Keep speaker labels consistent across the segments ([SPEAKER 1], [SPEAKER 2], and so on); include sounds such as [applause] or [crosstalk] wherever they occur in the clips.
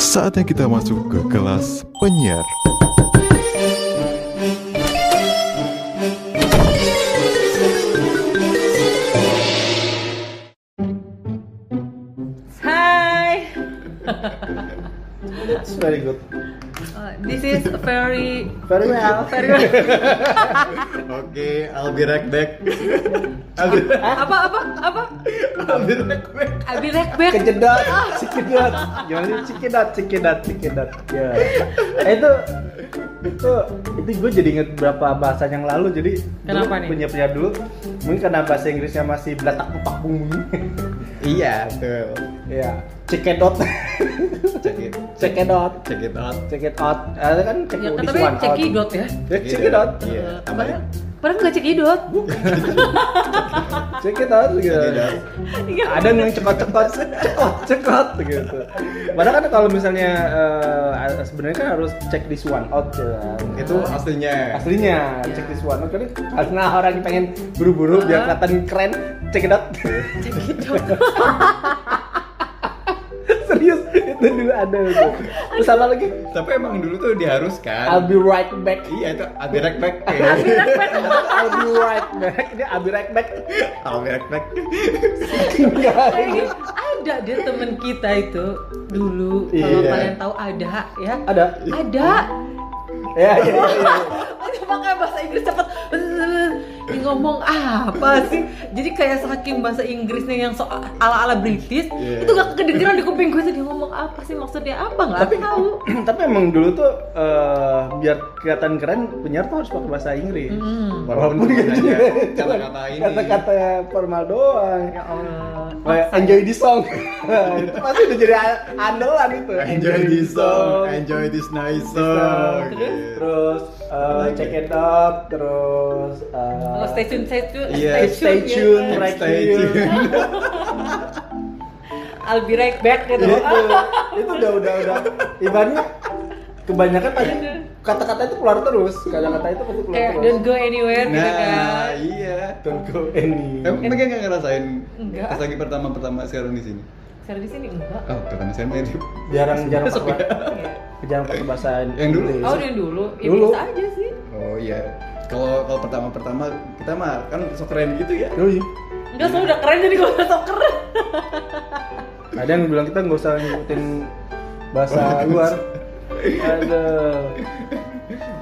[SPEAKER 1] Saatnya kita masuk ke kelas penyiar.
[SPEAKER 2] Hi,
[SPEAKER 3] It's very good.
[SPEAKER 2] Uh, this is very
[SPEAKER 3] Very
[SPEAKER 2] well,
[SPEAKER 3] good.
[SPEAKER 2] very well.
[SPEAKER 3] Oke, I'll be right
[SPEAKER 4] [laughs]
[SPEAKER 3] back. I'll be,
[SPEAKER 2] apa apa apa?
[SPEAKER 3] I'll be right back.
[SPEAKER 2] I'll be right back.
[SPEAKER 3] Kecedat, cikedat. Gimana sih cikedat, cikedat, cikedat. Ya. Eh, itu itu itu gue jadi inget berapa bahasa yang lalu jadi
[SPEAKER 2] Kenapa nih?
[SPEAKER 3] punya punya dulu mungkin karena bahasa Inggrisnya masih belatak pepak bumi
[SPEAKER 4] Iya, betul.
[SPEAKER 3] ya cekedot
[SPEAKER 4] Check it,
[SPEAKER 3] cekedot
[SPEAKER 4] check it out.
[SPEAKER 3] check it out Eh, kan cek
[SPEAKER 2] Ya,
[SPEAKER 3] this
[SPEAKER 2] tapi
[SPEAKER 3] one
[SPEAKER 2] cek
[SPEAKER 3] out.
[SPEAKER 2] idot ya.
[SPEAKER 3] Ya, cekedot
[SPEAKER 4] Iya,
[SPEAKER 2] Eh,
[SPEAKER 4] tambahin.
[SPEAKER 2] padahal- Padahal nggak cek idot.
[SPEAKER 3] cekedot
[SPEAKER 4] Check
[SPEAKER 3] gitu
[SPEAKER 4] it out.
[SPEAKER 2] Iya.
[SPEAKER 3] ada yang cekot-cekot, cekot, cekot gitu. Padahal kan kalau misalnya eh, sebenarnya kan harus cek this one out ya.
[SPEAKER 4] Itu aslinya.
[SPEAKER 3] aslinya cek this one out kan karena orang yang pengen buru-buru biar kelihatan keren cek it out. [laughs]
[SPEAKER 2] Cek [laughs] idot.
[SPEAKER 3] Serius itu dulu ada itu. Terus apa lagi?
[SPEAKER 4] Tapi emang dulu tuh
[SPEAKER 3] I'll
[SPEAKER 4] diharuskan.
[SPEAKER 3] be right back. Iya,
[SPEAKER 4] Iya, itu I'll be right [laughs] back.
[SPEAKER 3] I'll be right back. Ini I'll be right back.
[SPEAKER 4] I'll be right back.
[SPEAKER 2] Kayaknya ada deh temen kita itu dulu. Kalau
[SPEAKER 3] Iya.
[SPEAKER 2] kalian tahu ada ya.
[SPEAKER 3] Ada.
[SPEAKER 2] Ada.
[SPEAKER 3] Ya, ya, ya, ya.
[SPEAKER 2] Aduh, pakai bahasa Inggris cepet Ini ngomong apa sih? Jadi kayak saking bahasa Inggrisnya yang so ala-ala British
[SPEAKER 4] Iya.
[SPEAKER 2] Itu gak kedengeran di kuping gue tuh dia ngomong apa sih maksudnya apa gak
[SPEAKER 3] Tapi-
[SPEAKER 2] tahu
[SPEAKER 3] Tapi emang dulu tuh eh, biar kelihatan keren penyiar tuh harus pakai bahasa Inggris.
[SPEAKER 2] Hmm.
[SPEAKER 4] Walaupun
[SPEAKER 3] Walaupun
[SPEAKER 4] bukan
[SPEAKER 3] gitu
[SPEAKER 4] hanya
[SPEAKER 3] ya, cuman
[SPEAKER 4] kata-kata ini.
[SPEAKER 3] Kata-kata formal doang.
[SPEAKER 2] Ya Allah
[SPEAKER 3] Kayak enjoy this
[SPEAKER 4] [laughs]
[SPEAKER 3] song. itu pasti udah jadi a- andalan itu.
[SPEAKER 4] Enjoy this song, enjoy this nice song.
[SPEAKER 2] Terus?
[SPEAKER 4] Gitu.
[SPEAKER 3] Terus eh, check it out, terus eh,
[SPEAKER 2] Kalau Oh,
[SPEAKER 3] [laughs]
[SPEAKER 2] stay tune, stay tune,
[SPEAKER 4] Iya,
[SPEAKER 3] stay
[SPEAKER 2] ya
[SPEAKER 3] tune,
[SPEAKER 2] kan?
[SPEAKER 3] right
[SPEAKER 4] Stay
[SPEAKER 3] here.
[SPEAKER 4] tuned.
[SPEAKER 2] I'll be right back gitu.
[SPEAKER 3] Itu, itu udah udah udah. Ibaratnya kebanyakan tadi kata-kata itu keluar terus, kata-kata itu pasti keluar
[SPEAKER 2] Kayak
[SPEAKER 3] terus.
[SPEAKER 2] don't go anywhere gitu
[SPEAKER 4] Nah,
[SPEAKER 2] kan.
[SPEAKER 4] iya.
[SPEAKER 3] Don't go any.
[SPEAKER 4] Emang mereka nggak ngerasain
[SPEAKER 2] Enggak.
[SPEAKER 4] pas lagi pertama-pertama siaran di sini?
[SPEAKER 2] Sekarang di sini enggak.
[SPEAKER 4] Oh, pertama siaran mirip.
[SPEAKER 3] Jarang jarang
[SPEAKER 4] Masuk
[SPEAKER 3] pakai
[SPEAKER 2] Iya.
[SPEAKER 3] jarang pakai bahasa
[SPEAKER 4] Yang dulu?
[SPEAKER 3] Inggris.
[SPEAKER 2] Oh, dari dulu. Ya
[SPEAKER 3] Dulu.
[SPEAKER 2] biasa aja sih.
[SPEAKER 4] Oh iya. Kalau kalau pertama-pertama kita mah kan so keren gitu ya.
[SPEAKER 3] Dulu ya.
[SPEAKER 2] Enggak, soalnya udah keren jadi gue sok keren.
[SPEAKER 3] Ada yang bilang kita nggak usah ngikutin bahasa luar. Ada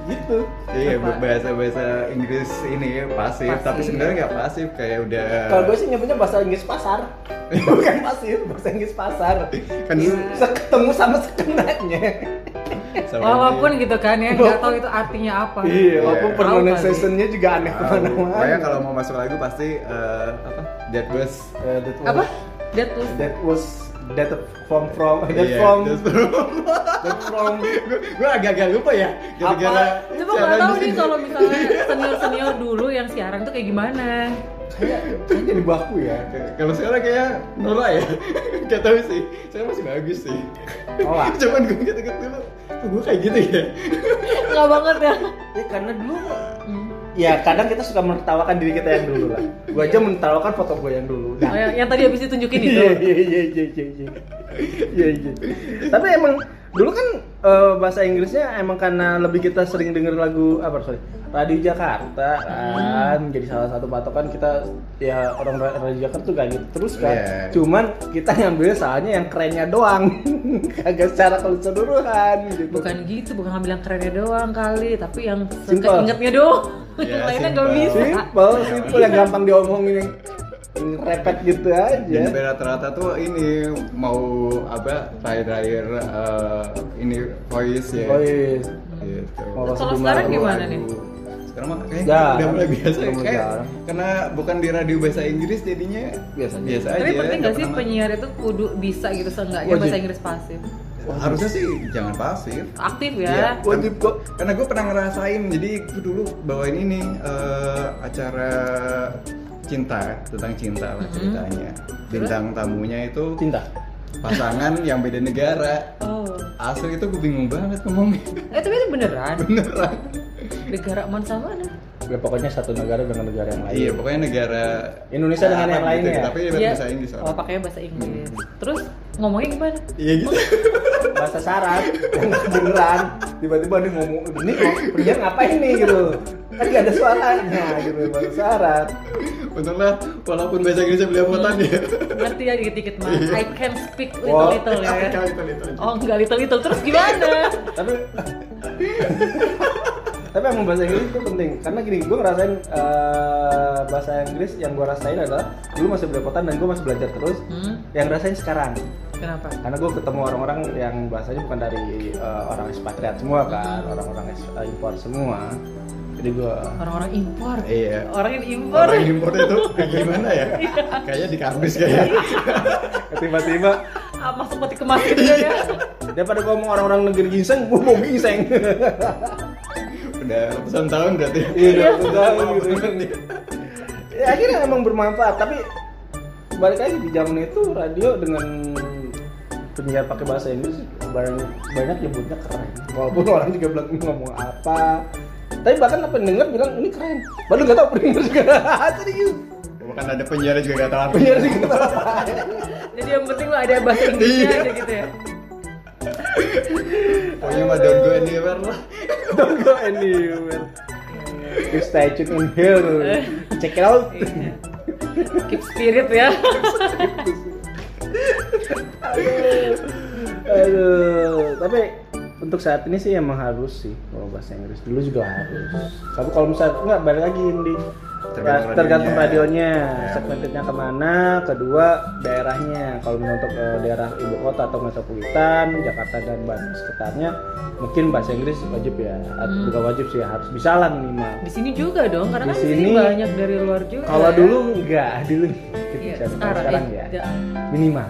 [SPEAKER 3] gitu.
[SPEAKER 4] Iya,
[SPEAKER 2] Apa?
[SPEAKER 4] bahasa bahasa Inggris ini pasif,
[SPEAKER 2] Pasif.
[SPEAKER 4] tapi sebenarnya nggak pasif kayak udah.
[SPEAKER 3] Kalau gue sih nyebutnya bahasa Inggris pasar,
[SPEAKER 4] [laughs]
[SPEAKER 3] bukan pasir, bahasa Inggris pasar.
[SPEAKER 4] kan dulu
[SPEAKER 3] Ketemu sama sekenanya.
[SPEAKER 4] sama
[SPEAKER 2] Walaupun
[SPEAKER 4] dia.
[SPEAKER 2] gitu kan ya, enggak tahu itu artinya apa.
[SPEAKER 3] Iya,
[SPEAKER 4] walaupun
[SPEAKER 3] walaupun
[SPEAKER 2] pronunciation-nya
[SPEAKER 3] pronunciation-nya juga aneh
[SPEAKER 4] kan. Tahu. Makanya
[SPEAKER 3] kemana-mana.
[SPEAKER 4] kalau mau masuk lagu pasti eh, apa? That was
[SPEAKER 2] Apa? That was
[SPEAKER 3] Eh, That was that from from that
[SPEAKER 4] Iya,
[SPEAKER 3] from
[SPEAKER 4] that [laughs] from-
[SPEAKER 3] that from
[SPEAKER 4] [laughs] gue agak-agak lupa ya gara-gara
[SPEAKER 2] apa? Coba gue
[SPEAKER 4] siaran
[SPEAKER 2] tahu
[SPEAKER 4] di
[SPEAKER 2] nih
[SPEAKER 4] sini.
[SPEAKER 2] kalau misalnya senior-senior dulu yang siaran tuh kayak gimana.
[SPEAKER 3] Kayaknya jadi baku ya.
[SPEAKER 4] kalau sekarang kayak Nora ya [laughs] gak tahu sih saya masih bagus sih
[SPEAKER 3] Oh, ah.
[SPEAKER 4] [laughs] cuman gue inget-inget dulu gue kayak gitu ya
[SPEAKER 2] Enggak banget ya.
[SPEAKER 3] Ya karena dulu
[SPEAKER 2] Hmm.
[SPEAKER 3] Ya kadang kita suka menertawakan diri kita yang dulu lah. Gue aja menertawakan foto gue yang dulu.
[SPEAKER 2] Oh, yang, yang tadi habis ditunjukin itu.
[SPEAKER 3] Iya iya iya iya iya iya. Iya iya. Tapi emang dulu kan eh, bahasa Inggrisnya emang karena lebih kita sering denger lagu apa sorry radio Jakarta kan jadi salah satu patokan kita ya orang ra- radio Jakarta tuh gak gitu terus kan.
[SPEAKER 4] Iya.
[SPEAKER 3] Cuman kita ngambil salahnya yang kerennya doang, [laughs] kagak secara keseluruhan gitu.
[SPEAKER 2] Bukan gitu, bukan ngambil yang kerennya doang kali, tapi yang
[SPEAKER 3] Simple.
[SPEAKER 2] sekeingetnya doang.
[SPEAKER 4] Iya,
[SPEAKER 2] yang lainnya gak
[SPEAKER 4] simple.
[SPEAKER 2] bisa.
[SPEAKER 3] Simple, simple yang gampang diomongin yang yang repet gitu aja.
[SPEAKER 4] dan rata-rata tuh ini mau apa terakhir-terakhir eh, ini voice ya
[SPEAKER 3] Oh iya.
[SPEAKER 4] gitu
[SPEAKER 3] Kalau
[SPEAKER 2] Kalau
[SPEAKER 3] sebelum
[SPEAKER 2] sekarang
[SPEAKER 3] lagu,
[SPEAKER 2] gimana nih?
[SPEAKER 4] Aduh. sekarang mah kayak
[SPEAKER 3] Jarang.
[SPEAKER 4] udah mulai biasa ya
[SPEAKER 3] Udah mulai
[SPEAKER 4] kayak
[SPEAKER 3] jarang.
[SPEAKER 4] karena bukan di radio bahasa Inggris jadinya
[SPEAKER 3] Biasa aja.
[SPEAKER 4] biasa aja
[SPEAKER 2] Tapi penting gak
[SPEAKER 4] nggak
[SPEAKER 2] sih
[SPEAKER 4] pernah-
[SPEAKER 2] penyiar itu kudu bisa gitu seenggaknya
[SPEAKER 3] Wajib.
[SPEAKER 2] bahasa Inggris pasif?
[SPEAKER 4] harusnya sih jangan pasif
[SPEAKER 2] Aktif
[SPEAKER 4] Iya.
[SPEAKER 2] ya.
[SPEAKER 3] Wajib kok.
[SPEAKER 4] karena gue pernah ngerasain jadi gue dulu bawain ini eh, acara cinta tentang cinta
[SPEAKER 2] Mm-hmm.
[SPEAKER 4] lah ceritanya bintang tamunya itu
[SPEAKER 3] Cinta.
[SPEAKER 4] pasangan yang beda negara
[SPEAKER 2] Oh.
[SPEAKER 4] asli itu gue bingung banget ngomongnya [laughs]
[SPEAKER 2] Eh tapi itu beneran.
[SPEAKER 4] beneran
[SPEAKER 2] Negara mana sama mana?
[SPEAKER 3] ya pokoknya satu negara dengan negara yang lain.
[SPEAKER 4] Iya, pokoknya negara
[SPEAKER 3] Indonesia dengan yang
[SPEAKER 4] Arab gitu,
[SPEAKER 3] lainnya ya?
[SPEAKER 4] Tapi dapat
[SPEAKER 2] Iya,
[SPEAKER 4] bahasa Inggris.
[SPEAKER 2] oh, pakainya bahasa Inggris. Terus ngomongnya gimana?
[SPEAKER 4] Iya gitu. [laughs]
[SPEAKER 3] bahasa syarat yang nggak beneran tiba-tiba dia ngomong ini kok pria ngapain nih gitu kan nggak ada suaranya gitu bahasa syarat
[SPEAKER 4] Untunglah walaupun bahasa Inggrisnya belepotan ya.
[SPEAKER 2] Ngerti ya dikit-dikit mah.
[SPEAKER 3] Iya.
[SPEAKER 2] I can speak
[SPEAKER 3] Wow.
[SPEAKER 2] little little ya. kan?
[SPEAKER 4] Kali itu itu.
[SPEAKER 2] Oh enggak little little terus gimana?
[SPEAKER 3] tapi [laughs] tapi emang bahasa Inggris itu penting karena gini gue ngerasain eh, bahasa Inggris yang gue rasain adalah dulu masih belepotan dan gue masih belajar terus
[SPEAKER 2] Hmm,
[SPEAKER 3] yang ngerasain sekarang
[SPEAKER 2] kenapa?
[SPEAKER 3] karena gue ketemu orang-orang yang bahasanya bukan dari eh, orang ekspatriat semua kan orang-orang eks- eh, impor semua jadi gue
[SPEAKER 2] Orang-orang impor.
[SPEAKER 4] Iya.
[SPEAKER 2] Orang yang impor.
[SPEAKER 4] Orang import itu kayak gimana ya? Kayaknya di kampus kayaknya.
[SPEAKER 3] [laughs] tiba-tiba
[SPEAKER 2] Ah, masuk peti kemas gitu ya.
[SPEAKER 3] daripada ngomong orang-orang negeri ginseng gue mau ginseng
[SPEAKER 4] Udah ratusan tahun berarti.
[SPEAKER 3] [laughs] iya betul gitu ya akhirnya emang bermanfaat tapi balik lagi di zaman itu radio dengan penyiar pakai bahasa Inggris banyak banyak nyebutnya keren walaupun orang juga bilang "Ini ngomong apa tapi bahkan pendengar bilang ini keren baru nggak tahu pendengar juga [laughs] serius
[SPEAKER 4] Bukan ada penjara juga gak tahu apa.
[SPEAKER 3] penyiar juga nggak tahu apa
[SPEAKER 2] Jadi yang penting lo ada bahasa Inggrisnya
[SPEAKER 4] Iya.
[SPEAKER 2] aja gitu ya.
[SPEAKER 4] Pokoknya mah don't go anywhere lah.
[SPEAKER 3] don't go anywhere you stay tuned in here check it out
[SPEAKER 2] Iya. Keep spirit ya.
[SPEAKER 3] Aduh, tapi untuk saat ini sih emang harus sih kalau bahasa Inggris dulu juga harus. Tapi kalau misalnya nggak balik lagi ini
[SPEAKER 4] Tergantung
[SPEAKER 3] tergantung
[SPEAKER 4] radionya.
[SPEAKER 3] radionya,
[SPEAKER 4] Ya.
[SPEAKER 3] segmentednya kemana, kedua daerahnya. Kalau misalnya untuk eh, daerah ibu kota atau metropolitan, Jakarta dan Bandung sekitarnya, mungkin bahasa Inggris wajib ya, Atau
[SPEAKER 2] Hmm.
[SPEAKER 3] bukan wajib sih harus bisa lah minimal.
[SPEAKER 2] Di sini juga dong, karena
[SPEAKER 3] Di
[SPEAKER 2] kan di sini
[SPEAKER 3] sini-
[SPEAKER 2] banyak dari luar juga.
[SPEAKER 3] Kalau
[SPEAKER 2] ya.
[SPEAKER 3] dulu nggak, dulu gitu,
[SPEAKER 2] Iya,
[SPEAKER 3] Iya. sekarang,
[SPEAKER 2] sekarang,
[SPEAKER 3] sekarang
[SPEAKER 2] ya.
[SPEAKER 3] ya Oh, iya. minimal.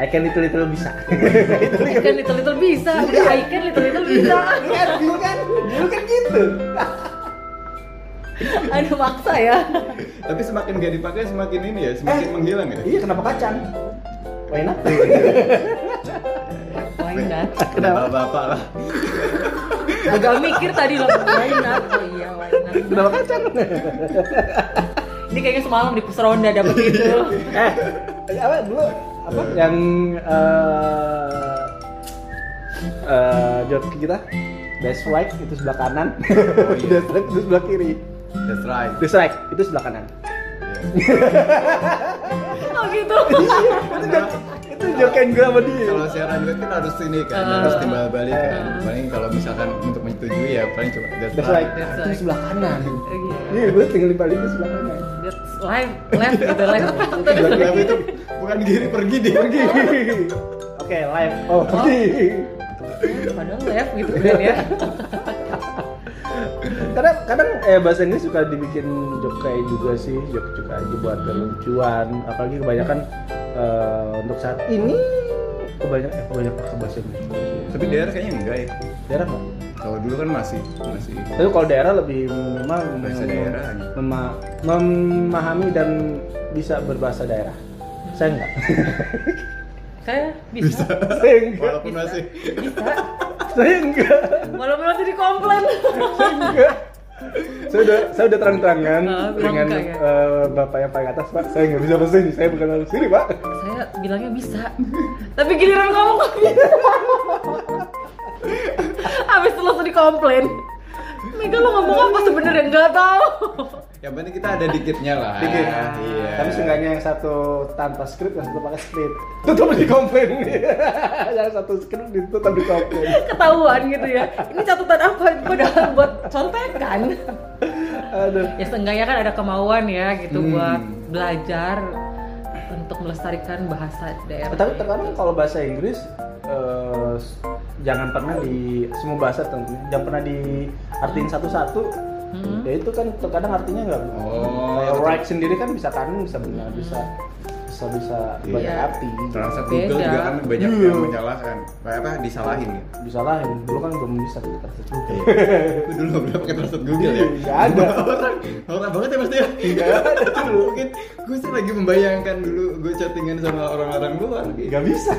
[SPEAKER 3] I can little little [laughs] bisa. Itu
[SPEAKER 2] I can kan little little bisa, udah
[SPEAKER 3] Iya.
[SPEAKER 2] I can little little bisa.
[SPEAKER 3] kan dulu kan dulu kan gitu
[SPEAKER 2] Aduh maksa ya.
[SPEAKER 4] Tapi semakin gak dipakai semakin ini ya, semakin
[SPEAKER 3] Eh.
[SPEAKER 4] menghilang ya.
[SPEAKER 3] iya kenapa kacang why [laughs] not
[SPEAKER 2] Why not?
[SPEAKER 4] Kenapa bapak lah?
[SPEAKER 2] Agak mikir tadi loh, why not? Oh iya, why not?
[SPEAKER 3] kenapa kacang
[SPEAKER 2] Ini kayaknya semalam di pusronda dapet gitu. itu.
[SPEAKER 3] eh apa dulu apa yang eh eh joki kita best right itu sebelah kanan
[SPEAKER 4] Oh, iya.
[SPEAKER 3] [laughs] best right itu sebelah kiri
[SPEAKER 4] That's right.
[SPEAKER 3] best right itu sebelah kanan
[SPEAKER 2] Oh gitu.
[SPEAKER 3] itu joki itu jokian gue sama dia
[SPEAKER 4] Kalau siaran duet kan harus ini kan,
[SPEAKER 2] Eh.
[SPEAKER 4] harus timbal balik kan. Paling kalau misalkan untuk menyetujui ya paling cuma that's
[SPEAKER 3] best
[SPEAKER 4] right.
[SPEAKER 3] right
[SPEAKER 2] That's
[SPEAKER 3] itu
[SPEAKER 2] right.
[SPEAKER 3] sebelah kanan
[SPEAKER 2] Iya.
[SPEAKER 3] iya gue tinggal dibalik itu sebelah kanan
[SPEAKER 2] That's life, left gitu, left.
[SPEAKER 4] Sebelah kiri itu bukan kiri pergi dia pergi.
[SPEAKER 3] Oke, live. Oh,
[SPEAKER 2] Padahal left gitu kan ya.
[SPEAKER 3] kadang kadang eh, bahasa Inggris suka dibikin joke kayak juga sih, joke juga aja buat kelucuan. Apalagi kebanyakan eh, untuk saat ini kebanyakan eh, kebanyakan pakai bahasa Inggris.
[SPEAKER 4] Tapi daerah kayaknya enggak ya.
[SPEAKER 3] Daerah nggak?
[SPEAKER 4] Kalau dulu kan masih masih
[SPEAKER 3] Tapi kalau daerah lebih minimal
[SPEAKER 4] Bahasa
[SPEAKER 3] mem-
[SPEAKER 4] daerah.
[SPEAKER 3] mema- memahami dan bisa berbahasa daerah. Saya
[SPEAKER 4] [laughs]
[SPEAKER 3] enggak.
[SPEAKER 2] Saya bisa.
[SPEAKER 3] Saya enggak.
[SPEAKER 4] walaupun masih
[SPEAKER 2] Bisa.
[SPEAKER 3] Saya enggak.
[SPEAKER 2] Walaupun masih dikomplain.
[SPEAKER 3] saya enggak saya udah saya udah terang-terangan
[SPEAKER 2] Ah, bilang
[SPEAKER 3] dengan
[SPEAKER 2] enggak ya?
[SPEAKER 3] eh, bapak yang paling atas pak saya nggak bisa bahasa ini saya bukan orang sini pak
[SPEAKER 2] Saya bilangnya bisa. Tapi giliran ngomong kok bisa. Habis itu langsung dikomplain. Mega lo ngomong apa sebenarnya nggak tahu.
[SPEAKER 4] yang penting kita ada dikitnya lah.
[SPEAKER 3] dikit
[SPEAKER 4] Iya.
[SPEAKER 3] tapi seenggaknya yang satu tanpa skrip yang satu pakai skrip tetap dikomplain [laughs] yang satu skrip itu tetap dikomplain
[SPEAKER 2] Ketahuan gitu ya. Ini catatan apa? Padahal buat contekan.
[SPEAKER 3] aduh
[SPEAKER 2] Ya seenggaknya kan ada kemauan ya gitu
[SPEAKER 4] Hmm.
[SPEAKER 2] buat belajar untuk melestarikan bahasa daerah.
[SPEAKER 3] Eh, tapi terkadang kalau bahasa Inggris eh, s- jangan pernah di semua bahasa tentunya jangan pernah diartiin satu-satu
[SPEAKER 2] Hmm.
[SPEAKER 3] ya itu kan terkadang artinya nggak
[SPEAKER 4] Oh.
[SPEAKER 3] kayak right sendiri kan bisa kanan bisa benar bisa bisa bisa
[SPEAKER 4] Iya.
[SPEAKER 3] banyak arti
[SPEAKER 4] Translate
[SPEAKER 2] Beda.
[SPEAKER 4] Google juga kan banyak
[SPEAKER 3] Iya.
[SPEAKER 4] yang menyalahkan. Kayak apa? Disalahin ya.
[SPEAKER 3] bisa lah yang dulu kan belum bisa kita tersebut
[SPEAKER 4] Gue [laughs] dulu nggak pernah pakai translate Google ya.
[SPEAKER 3] Iya. Nggak ada.
[SPEAKER 4] [laughs] Orang, orang banget ya pasti ya. Gak [laughs] ada dulu. Mungkin gue sih lagi membayangkan dulu gue chattingan sama orang-orang luar. gitu.
[SPEAKER 3] nggak bisa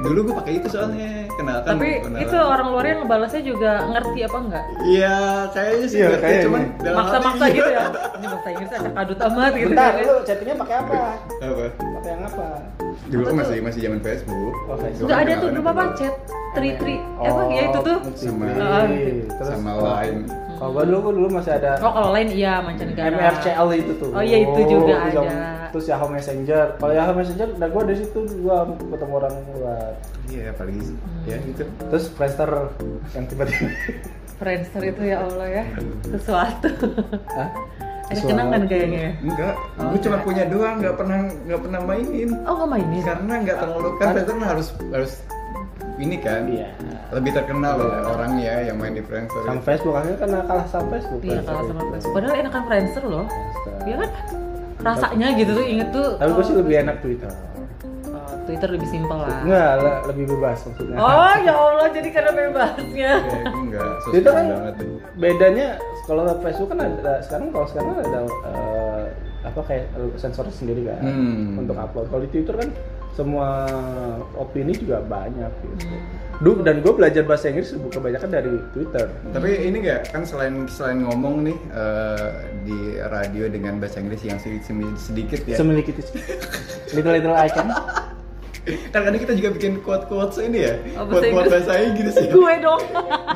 [SPEAKER 4] Dulu gue pakai itu soalnya kenalkan.
[SPEAKER 2] Tapi
[SPEAKER 4] kenalan.
[SPEAKER 2] itu orang luar yang ngebalasnya juga ngerti apa enggak?
[SPEAKER 4] Iya, kayaknya sih.
[SPEAKER 3] Iya,
[SPEAKER 4] ngerti,
[SPEAKER 3] kayaknya.
[SPEAKER 4] Cuman dalam hati,
[SPEAKER 2] Maksa-maksa
[SPEAKER 4] iya.
[SPEAKER 2] gitu ya. Ini bahasa Inggris acak adut amat gitu.
[SPEAKER 3] bentar lu chattingnya pakai apa
[SPEAKER 4] [laughs] Apa?
[SPEAKER 3] pakai yang apa
[SPEAKER 4] Dulu
[SPEAKER 2] Apa tuh?
[SPEAKER 4] masih masih zaman Facebook.
[SPEAKER 3] Oh, Facebook.
[SPEAKER 4] Dulu
[SPEAKER 2] Enggak ada tuh
[SPEAKER 4] kenalan
[SPEAKER 2] dulu apa chat tri tri apa ya itu tuh.
[SPEAKER 4] Sama-
[SPEAKER 3] Iya, terus
[SPEAKER 4] sama
[SPEAKER 3] kalau-
[SPEAKER 4] lain.
[SPEAKER 3] kalau gua dulu gua dulu masih ada
[SPEAKER 2] Oh kalau lain iya mancanegara.
[SPEAKER 3] MRCL itu tuh.
[SPEAKER 2] Oh, iya, itu juga
[SPEAKER 3] terus
[SPEAKER 2] ada.
[SPEAKER 3] yang- Terus Yahoo Messenger. Kalau Yahoo Messenger, dan gua dari situ gua ketemu orang luar.
[SPEAKER 4] Iya, paling
[SPEAKER 2] Hmm.
[SPEAKER 4] ya gitu.
[SPEAKER 3] Terus Friendster yang
[SPEAKER 2] [laughs]
[SPEAKER 3] tiba-tiba.
[SPEAKER 2] Friendster itu ya Allah ya
[SPEAKER 3] [laughs]
[SPEAKER 2] sesuatu.
[SPEAKER 3] Hah?
[SPEAKER 2] Ada kenangan kayaknya. ya?
[SPEAKER 4] Enggak,
[SPEAKER 2] Oh,
[SPEAKER 4] gue cuma
[SPEAKER 2] enggak.
[SPEAKER 4] punya doang, nggak pernah nggak pernah mainin.
[SPEAKER 2] Oh nggak mainin.
[SPEAKER 4] Karena nggak terlalu kan Friendster harus harus ini kan.
[SPEAKER 3] Iya.
[SPEAKER 4] Lebih terkenal loh orangnya yang main di Friendster.
[SPEAKER 3] Sama Facebook akhirnya kan kalah sama Facebook.
[SPEAKER 2] Iya
[SPEAKER 3] Friendster
[SPEAKER 2] kalah sama
[SPEAKER 3] itu.
[SPEAKER 2] Friendster. Padahal enakan Friendster loh.
[SPEAKER 3] Friendster.
[SPEAKER 2] Iya kan? Rasanya gitu tuh inget tuh.
[SPEAKER 3] Tapi gua sih
[SPEAKER 2] oh,
[SPEAKER 3] lebih enak Twitter.
[SPEAKER 2] oh, Twitter lebih simpel lah.
[SPEAKER 3] Enggak, le- lebih bebas maksudnya.
[SPEAKER 2] Ah. Oh ya Allah jadi karena [laughs] bebasnya.
[SPEAKER 4] Kayak gue Iya, nggak sosial
[SPEAKER 3] Twitter kan
[SPEAKER 4] banget. tuh.
[SPEAKER 3] bedanya kalau Facebook kan ada sekarang kalau sekarang kan ada eh, apa kayak lu sensor sendiri kan
[SPEAKER 4] Hmm.
[SPEAKER 3] untuk upload. Kalau di Twitter kan semua opini juga banyak gitu. Duh, dan gue belajar bahasa Inggris kebanyakan dari Twitter.
[SPEAKER 4] Tapi ini nggak kan selain selain ngomong nih eh, di radio dengan bahasa Inggris yang sedikit sedikit ya.
[SPEAKER 3] Semiliki itu. little little icon.
[SPEAKER 4] Kan kadang kita juga bikin quote quotes ini ya.
[SPEAKER 2] Oh, bahasa
[SPEAKER 4] Quote quote
[SPEAKER 2] Inggris.
[SPEAKER 4] bahasa Inggris ya.
[SPEAKER 2] Gue dong.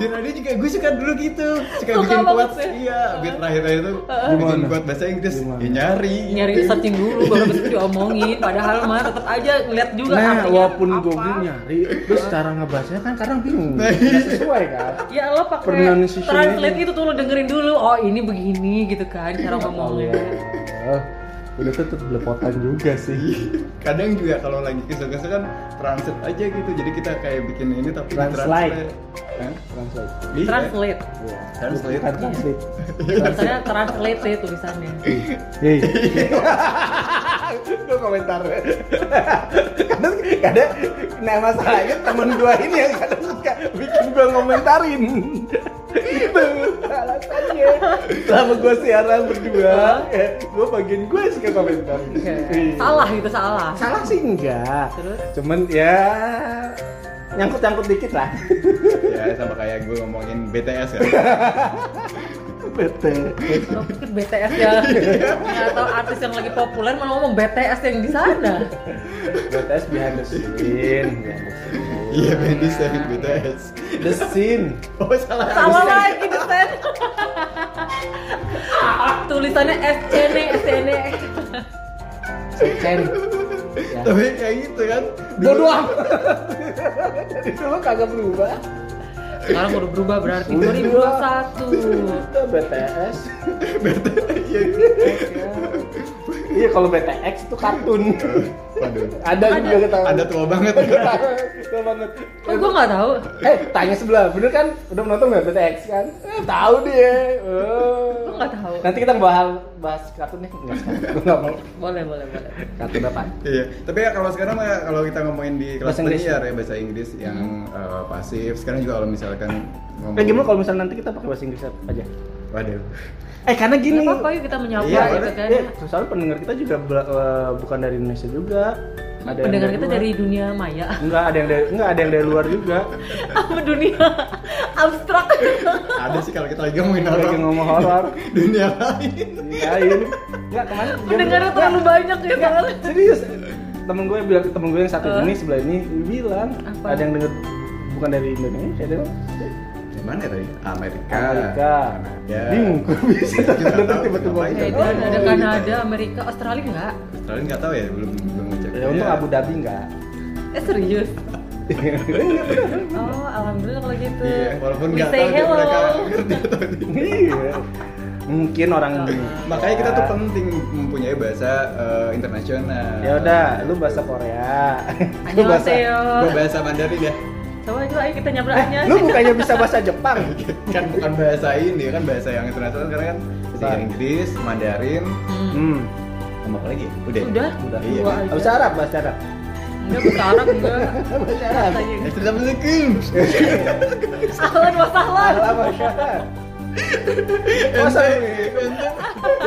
[SPEAKER 4] di radio juga gue suka dulu gitu suka
[SPEAKER 2] Suka
[SPEAKER 4] bikin
[SPEAKER 2] banget
[SPEAKER 4] quotes
[SPEAKER 2] ya.
[SPEAKER 4] iya biar terakhir itu bikin
[SPEAKER 3] Gimana?
[SPEAKER 4] quote bahasa Inggris
[SPEAKER 3] Gimana?
[SPEAKER 4] ya nyari
[SPEAKER 2] Nyari searching dulu baru bisa diomongin. Padahal mah tetap aja ngeliat juga.
[SPEAKER 3] Nah,
[SPEAKER 2] artinya
[SPEAKER 3] walaupun gue
[SPEAKER 2] apa.
[SPEAKER 3] nyari, terus cara ngebahasnya kan kadang bingung.
[SPEAKER 4] Nah,
[SPEAKER 3] Nggak sesuai kan.
[SPEAKER 2] Ya lo pakai
[SPEAKER 3] Pronunciation-nya.
[SPEAKER 2] translate itu tuh lo dengerin dulu. Oh ini begini gitu kan cara ngomongnya.
[SPEAKER 4] Oh.
[SPEAKER 3] Allah. Udah tuh tetep belepotan juga
[SPEAKER 4] [laughs]
[SPEAKER 3] sih.
[SPEAKER 4] kadang juga kalau lagi kesel-kesel kan transit aja gitu jadi kita kayak bikin ini tapi di
[SPEAKER 3] Translate.
[SPEAKER 4] Hah?
[SPEAKER 3] Translate.
[SPEAKER 4] Iya.
[SPEAKER 2] Translate.
[SPEAKER 3] Iya.
[SPEAKER 4] Translate.
[SPEAKER 3] Bukan translate.
[SPEAKER 2] Tulisannya translate ya tulisannya.
[SPEAKER 4] Iya,
[SPEAKER 3] Yeay. gue komentar. kadang kadang nah masalahnya temen gue ini yang kadang suka bikin gue ngomentarin. Itu alasannya. Selama gue siaran berdua, gue bagian gue suka komentar.
[SPEAKER 2] Oke.
[SPEAKER 3] Iya.
[SPEAKER 2] Salah itu salah.
[SPEAKER 3] Salah sih enggak.
[SPEAKER 2] Terus?
[SPEAKER 3] Cuman ya nyangkut-nyangkut dikit lah.
[SPEAKER 4] ya sama kayak gue ngomongin BTS kan
[SPEAKER 3] Betul.
[SPEAKER 2] Lo pikir BTS ya? Nggak tahu artis yang lagi populer malah ngomong BTS yang di sana.
[SPEAKER 3] BTS behind the scene.
[SPEAKER 4] iya Bendy sayang BTS
[SPEAKER 3] The scene.
[SPEAKER 4] oh salah
[SPEAKER 2] Salah lagi desain. [laughs] Tulisannya SCN, SCN.
[SPEAKER 3] Scene. Ya.
[SPEAKER 4] tapi kayak gitu kan
[SPEAKER 3] Bodoh amat. [laughs] Dari dulu kagak berubah.
[SPEAKER 2] Sekarang udah berubah berarti
[SPEAKER 3] Udah.
[SPEAKER 2] 2021.
[SPEAKER 3] Itu [laughs] BTS.
[SPEAKER 4] Iya, iya.
[SPEAKER 3] Iya kalau BTX itu kartun.
[SPEAKER 4] waduh
[SPEAKER 3] Ada juga kita.
[SPEAKER 4] ada
[SPEAKER 3] [laughs]
[SPEAKER 4] tua banget
[SPEAKER 3] Itu banget.
[SPEAKER 2] Kok gue Oh, nggak tahu?
[SPEAKER 3] Eh, tanya sebelah, bener kan? Udah menonton nggak BTX kan? Eh, tahu dia.
[SPEAKER 2] Lu
[SPEAKER 3] Oh.
[SPEAKER 2] nggak tahu?
[SPEAKER 3] Nanti kita bahas bahas kartun deh. Nggak, Gue nggak mau.
[SPEAKER 2] Boleh, boleh, boleh.
[SPEAKER 3] Kartun apa?
[SPEAKER 4] Iya, tapi ya kalau sekarang mah kalau kita ngomongin di kelas
[SPEAKER 3] Bahasa Inggris
[SPEAKER 4] penyiar ya bahasa Inggris yang eh, pasif. Sekarang juga kalau misalkan ngomong.
[SPEAKER 3] Eh gimana kalau misalnya nanti kita pakai bahasa Inggris aja?
[SPEAKER 4] Waduh.
[SPEAKER 3] Eh karena gini.
[SPEAKER 2] Gak apa-apa yuk kita menyoba
[SPEAKER 4] Iya,
[SPEAKER 2] gitu
[SPEAKER 4] boleh.
[SPEAKER 2] kan.
[SPEAKER 3] Eh, soalnya pendengar kita juga bela- eh, bukan dari Indonesia juga. Ada yang
[SPEAKER 2] Pendengar kita
[SPEAKER 3] luar.
[SPEAKER 2] dari dunia maya. [laughs]
[SPEAKER 3] Enggak, ada yang dari enggak ada yang dari luar juga.
[SPEAKER 2] Apa dunia abstrak?
[SPEAKER 4] Ada sih kalau kita lagi ngomongin
[SPEAKER 3] Lagi
[SPEAKER 4] orang
[SPEAKER 3] ngomong horor.
[SPEAKER 4] [laughs] dunia lain.
[SPEAKER 3] Iya, ini. Enggak, kemarin dia-
[SPEAKER 4] Iya.
[SPEAKER 2] Pendengarnya terlalu banyak ya
[SPEAKER 3] Enggak,
[SPEAKER 2] kan?
[SPEAKER 3] serius. Temen gue bilang temen gue yang satu
[SPEAKER 2] Eh.
[SPEAKER 3] ini sebelah ini dia bilang
[SPEAKER 2] Apa?
[SPEAKER 3] ada yang denger bukan dari Indonesia dia bilang,
[SPEAKER 4] Yang mana ya tadi? Amerika.
[SPEAKER 3] Amerika.
[SPEAKER 4] Kanada.
[SPEAKER 3] Bingung gue
[SPEAKER 4] [laughs]
[SPEAKER 3] bisa
[SPEAKER 4] Ya. Kita nggak
[SPEAKER 3] tiba-tiba
[SPEAKER 4] tahu
[SPEAKER 3] tiba-tiba.
[SPEAKER 4] ngapain.
[SPEAKER 2] Ya itu kan ada Kanada, Amerika, Australia enggak?
[SPEAKER 4] Kalian nggak tahu ya belum belum ngecek. Iya.
[SPEAKER 3] Ya untuk Abu Dhabi enggak.
[SPEAKER 2] Eh serius?
[SPEAKER 3] Iya, bener.
[SPEAKER 2] Oh, alhamdulillah kalau gitu.
[SPEAKER 4] Iya, walaupun
[SPEAKER 2] We
[SPEAKER 4] nggak
[SPEAKER 2] say
[SPEAKER 4] tahu dia
[SPEAKER 2] hello.
[SPEAKER 4] mereka [laughs] ngerti atau tidak.
[SPEAKER 3] Iya. Mungkin orang Indonesia.
[SPEAKER 4] Makanya kita tuh penting mempunyai bahasa eh, internasional.
[SPEAKER 3] Ya udah, lu bahasa Korea. Lu bahasa
[SPEAKER 2] Annyeonghaseyo.
[SPEAKER 4] Gua bahasa Mandarin ya. [laughs]
[SPEAKER 2] Coba coba ayo kita nyabraknya.
[SPEAKER 3] Eh, lu bukannya bisa bahasa Jepang?
[SPEAKER 4] kan bukan bahasa ini kan bahasa yang internasional karena kan bahasa
[SPEAKER 3] Bukan.
[SPEAKER 4] Inggris, Mandarin,
[SPEAKER 2] Hmm.
[SPEAKER 3] Hmm.
[SPEAKER 4] sama apa lagi ya? Udah. ya?
[SPEAKER 2] Udah.
[SPEAKER 3] Udah.
[SPEAKER 4] Iya.
[SPEAKER 2] Dua aja.
[SPEAKER 3] Habis Arab, bahasa Arab.
[SPEAKER 2] Enggak
[SPEAKER 4] [laughs]
[SPEAKER 2] sekarang enggak. gitu.
[SPEAKER 3] Bahasa Arab.
[SPEAKER 2] Tanya.
[SPEAKER 4] Assalamualaikum.
[SPEAKER 3] [laughs]
[SPEAKER 2] Ahlan wa sahlan.
[SPEAKER 3] Arab apa Syahar? Masa ente?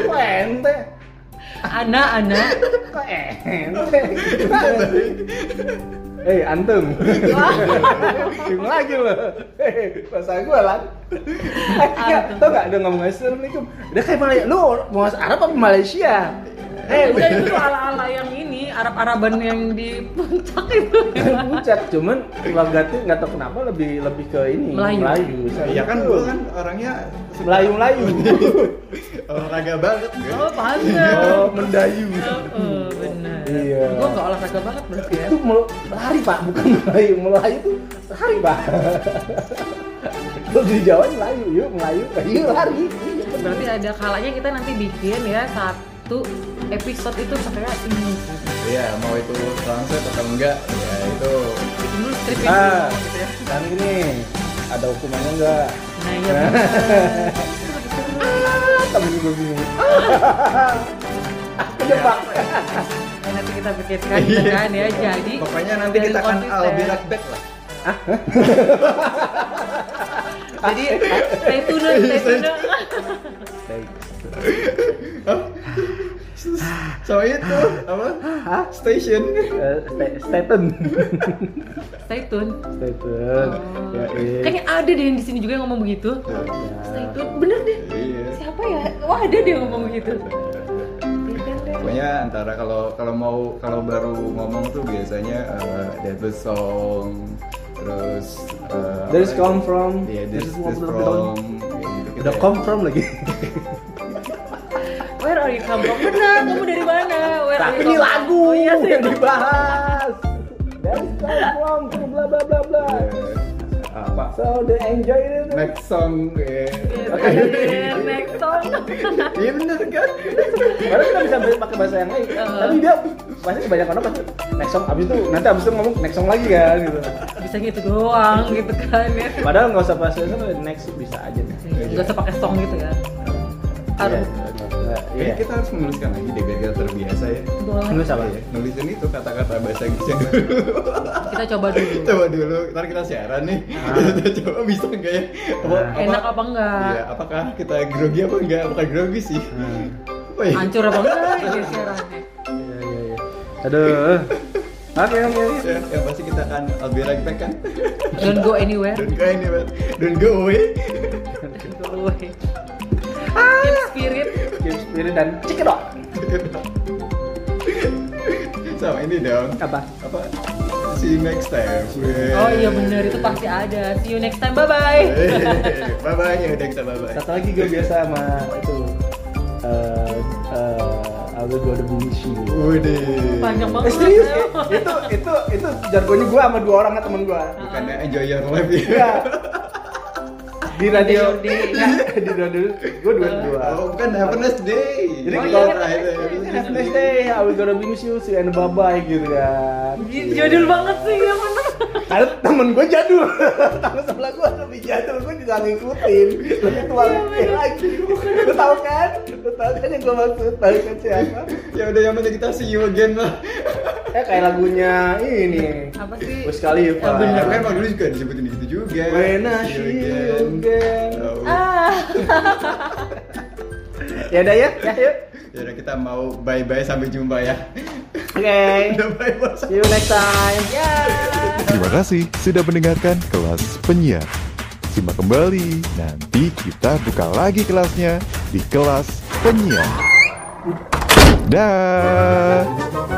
[SPEAKER 3] Kok ente?
[SPEAKER 2] Anak, anak.
[SPEAKER 3] Kok ente? Eh, antum.
[SPEAKER 4] [laughs]
[SPEAKER 3] Bingung lagi loh. Eh, Bahasa gue lah. Akhirnya,
[SPEAKER 2] Antum.
[SPEAKER 3] tau gak dia ngomong Assalamualaikum? Dia kayak Malaysia. Lu bahasa Arab apa Malaysia? Eh,
[SPEAKER 2] Udah itu tuh ala-ala yang ini, Arab-Araban yang di puncak itu.
[SPEAKER 3] puncak cuman logatnya nggak tahu kenapa lebih lebih ke ini
[SPEAKER 2] Melayu.
[SPEAKER 4] Iya kan gue kan orangnya suka
[SPEAKER 3] Melayu Melayu.
[SPEAKER 4] olahraga banget gue.
[SPEAKER 2] Oh, pantes.
[SPEAKER 3] oh, mendayu.
[SPEAKER 4] Iya.
[SPEAKER 2] Oh, benar.
[SPEAKER 3] Iya.
[SPEAKER 2] Gua enggak olahraga banget berarti ya.
[SPEAKER 3] Itu mel- lari pak, bukan melayu. Melayu itu lari pak. Kalau di Jawa melayu, yuk melayu, melayu lari. Iya, bener.
[SPEAKER 2] Berarti ada kalanya kita nanti bikin ya satu episode itu sebenarnya ini.
[SPEAKER 4] Iya mau itu translate atau enggak ya itu
[SPEAKER 2] Bikin dulu stripnya
[SPEAKER 3] Ah,
[SPEAKER 2] dulu gitu ya.
[SPEAKER 3] kan gini, ada hukumannya nggak?
[SPEAKER 2] Nah, iya.
[SPEAKER 4] [laughs]
[SPEAKER 2] benar.
[SPEAKER 3] Ah, tapi gue [laughs] bingung. Ah, Kejebak.
[SPEAKER 2] Nah, nanti kita pikirkan gitu kan ya. Jadi
[SPEAKER 4] Iya. pokoknya nanti kita akan
[SPEAKER 2] konsisten.
[SPEAKER 4] I'll be right back lah.
[SPEAKER 2] Jadi stay tune, stay tune.
[SPEAKER 3] Baik.
[SPEAKER 4] So itu apa? Station.
[SPEAKER 3] Eh, sta- Staten.
[SPEAKER 2] Stay tune.
[SPEAKER 3] Staten. Ya, eh.
[SPEAKER 2] Kayaknya ada deh yang di sini juga yang ngomong begitu. Stay tune. Bener deh.
[SPEAKER 4] Iya.
[SPEAKER 2] Siapa ya? Wah, ada deh yang ngomong begitu. Stay tune deh.
[SPEAKER 4] Pokoknya antara kalau kalau mau kalau baru ngomong tuh biasanya uh, Devil Song terus uh,
[SPEAKER 3] This
[SPEAKER 4] apa lagi?
[SPEAKER 3] come from-
[SPEAKER 4] Iya, this,
[SPEAKER 3] this is
[SPEAKER 4] this
[SPEAKER 3] what-
[SPEAKER 4] from kayak gitu
[SPEAKER 3] Udah come from [laughs] lagi.
[SPEAKER 2] Where are you come from? Benar, kamu dari mana? Where are you
[SPEAKER 3] Tapi
[SPEAKER 2] come
[SPEAKER 3] ini
[SPEAKER 2] from?
[SPEAKER 3] lagu
[SPEAKER 2] Oh, iya sih.
[SPEAKER 3] yang dibahas. Dari Storm to bla bla bla bla.
[SPEAKER 4] Iya. apa
[SPEAKER 3] So they enjoy it.
[SPEAKER 4] next song ya
[SPEAKER 2] Yes, Next song. [laughs]
[SPEAKER 4] iya bener kan
[SPEAKER 3] Padahal kita bisa pakai bahasa yang lain.
[SPEAKER 2] Uh.
[SPEAKER 3] Tapi dia bahasa kebanyakan orang pasti next song abis itu nanti abis itu ngomong next song lagi kan gitu.
[SPEAKER 2] Bisa gitu doang gitu kan ya.
[SPEAKER 3] Padahal nggak usah bahasa itu next bisa aja. Iya,
[SPEAKER 2] Gak usah pakai song gitu kan. Harus
[SPEAKER 4] Kayaknya
[SPEAKER 3] Iya.
[SPEAKER 4] kita harus menuliskan lagi deh biar kita terbiasa ya
[SPEAKER 2] boleh.
[SPEAKER 3] Nulis apa?
[SPEAKER 4] Iya, nulisin itu kata-kata bahasa Inggrisnya dulu
[SPEAKER 2] Kita coba dulu.
[SPEAKER 4] coba dulu ntar kita siaran nih kita [laughs] coba bisa nggak ya apa,
[SPEAKER 3] Ah.
[SPEAKER 2] Ah. Enak apa Ah. enggak?
[SPEAKER 4] Iya, apakah kita grogi apa enggak bukan grogi sih ya?
[SPEAKER 3] Hmm.
[SPEAKER 4] Woi.
[SPEAKER 2] Hancur apa enggak ini siarannya?
[SPEAKER 3] Iya iya iya. Aduh. Oke oke. oke.
[SPEAKER 4] Ya, yang pasti kita akan I'll be right back kan [laughs]
[SPEAKER 2] Don't go anywhere.
[SPEAKER 4] don't go anywhere don't go away
[SPEAKER 2] Don't
[SPEAKER 4] [laughs]
[SPEAKER 2] go away. Keep spirit.
[SPEAKER 3] Keep spirit dan cikidot.
[SPEAKER 4] sama ini dong
[SPEAKER 3] Apa?
[SPEAKER 4] apa see you next time
[SPEAKER 2] Oh iya
[SPEAKER 4] [laughs]
[SPEAKER 2] bener itu pasti ada. See you next time. Bye bye.
[SPEAKER 4] bye bye ya udah kita bye bye
[SPEAKER 3] Satu lagi gue biasa sama itu eh eh I'll go to beach.
[SPEAKER 4] Wede.
[SPEAKER 2] Panjang banget.
[SPEAKER 3] Eh, serius ya? Itu itu itu jargonnya gue sama dua orang teman gue.
[SPEAKER 4] bukannya enjoy your life ya
[SPEAKER 3] Iya. Di radio Iya,
[SPEAKER 2] Day,
[SPEAKER 3] di
[SPEAKER 2] day, ya.
[SPEAKER 3] radio gue dua dua.
[SPEAKER 4] oh bukan have a nice day
[SPEAKER 3] Jadi
[SPEAKER 2] Oh,
[SPEAKER 3] kalau
[SPEAKER 2] iya,
[SPEAKER 4] terakhir ya,
[SPEAKER 2] have a nice
[SPEAKER 4] have a nice day
[SPEAKER 3] Hey, I will gonna miss you, see you and bye bye gitu kan.
[SPEAKER 2] Jadul banget sih yang bener.
[SPEAKER 3] Karena temen gue jadul, temen sebelah gue lebih jadul, gue tidak ngikutin, lebih tua lebih lagi. Lo tau kan? Lo tau kan yang gue maksud? Tau kan siapa?
[SPEAKER 4] ya udah yang penting kita see you again lah
[SPEAKER 3] Eh kayak lagunya ini.
[SPEAKER 2] Apa sih?
[SPEAKER 3] Wiz Khalifa.
[SPEAKER 2] Ah, bener.
[SPEAKER 4] ya kan waktu dulu juga disebutin di situ juga
[SPEAKER 3] When I
[SPEAKER 4] See you
[SPEAKER 3] see you
[SPEAKER 4] again.
[SPEAKER 3] again.
[SPEAKER 4] Oh.
[SPEAKER 2] Ah.
[SPEAKER 3] Ya udah ya, ya yuk.
[SPEAKER 4] ya udah kita mau bye bye sampai jumpa ya [laughs]
[SPEAKER 3] Oke.
[SPEAKER 4] udah bye bye
[SPEAKER 3] See you next time.
[SPEAKER 2] Yeah.
[SPEAKER 1] Terima kasih sudah mendengarkan kelas penyiar. Simak kembali, nanti kita buka lagi kelasnya di kelas penyiar. Dah.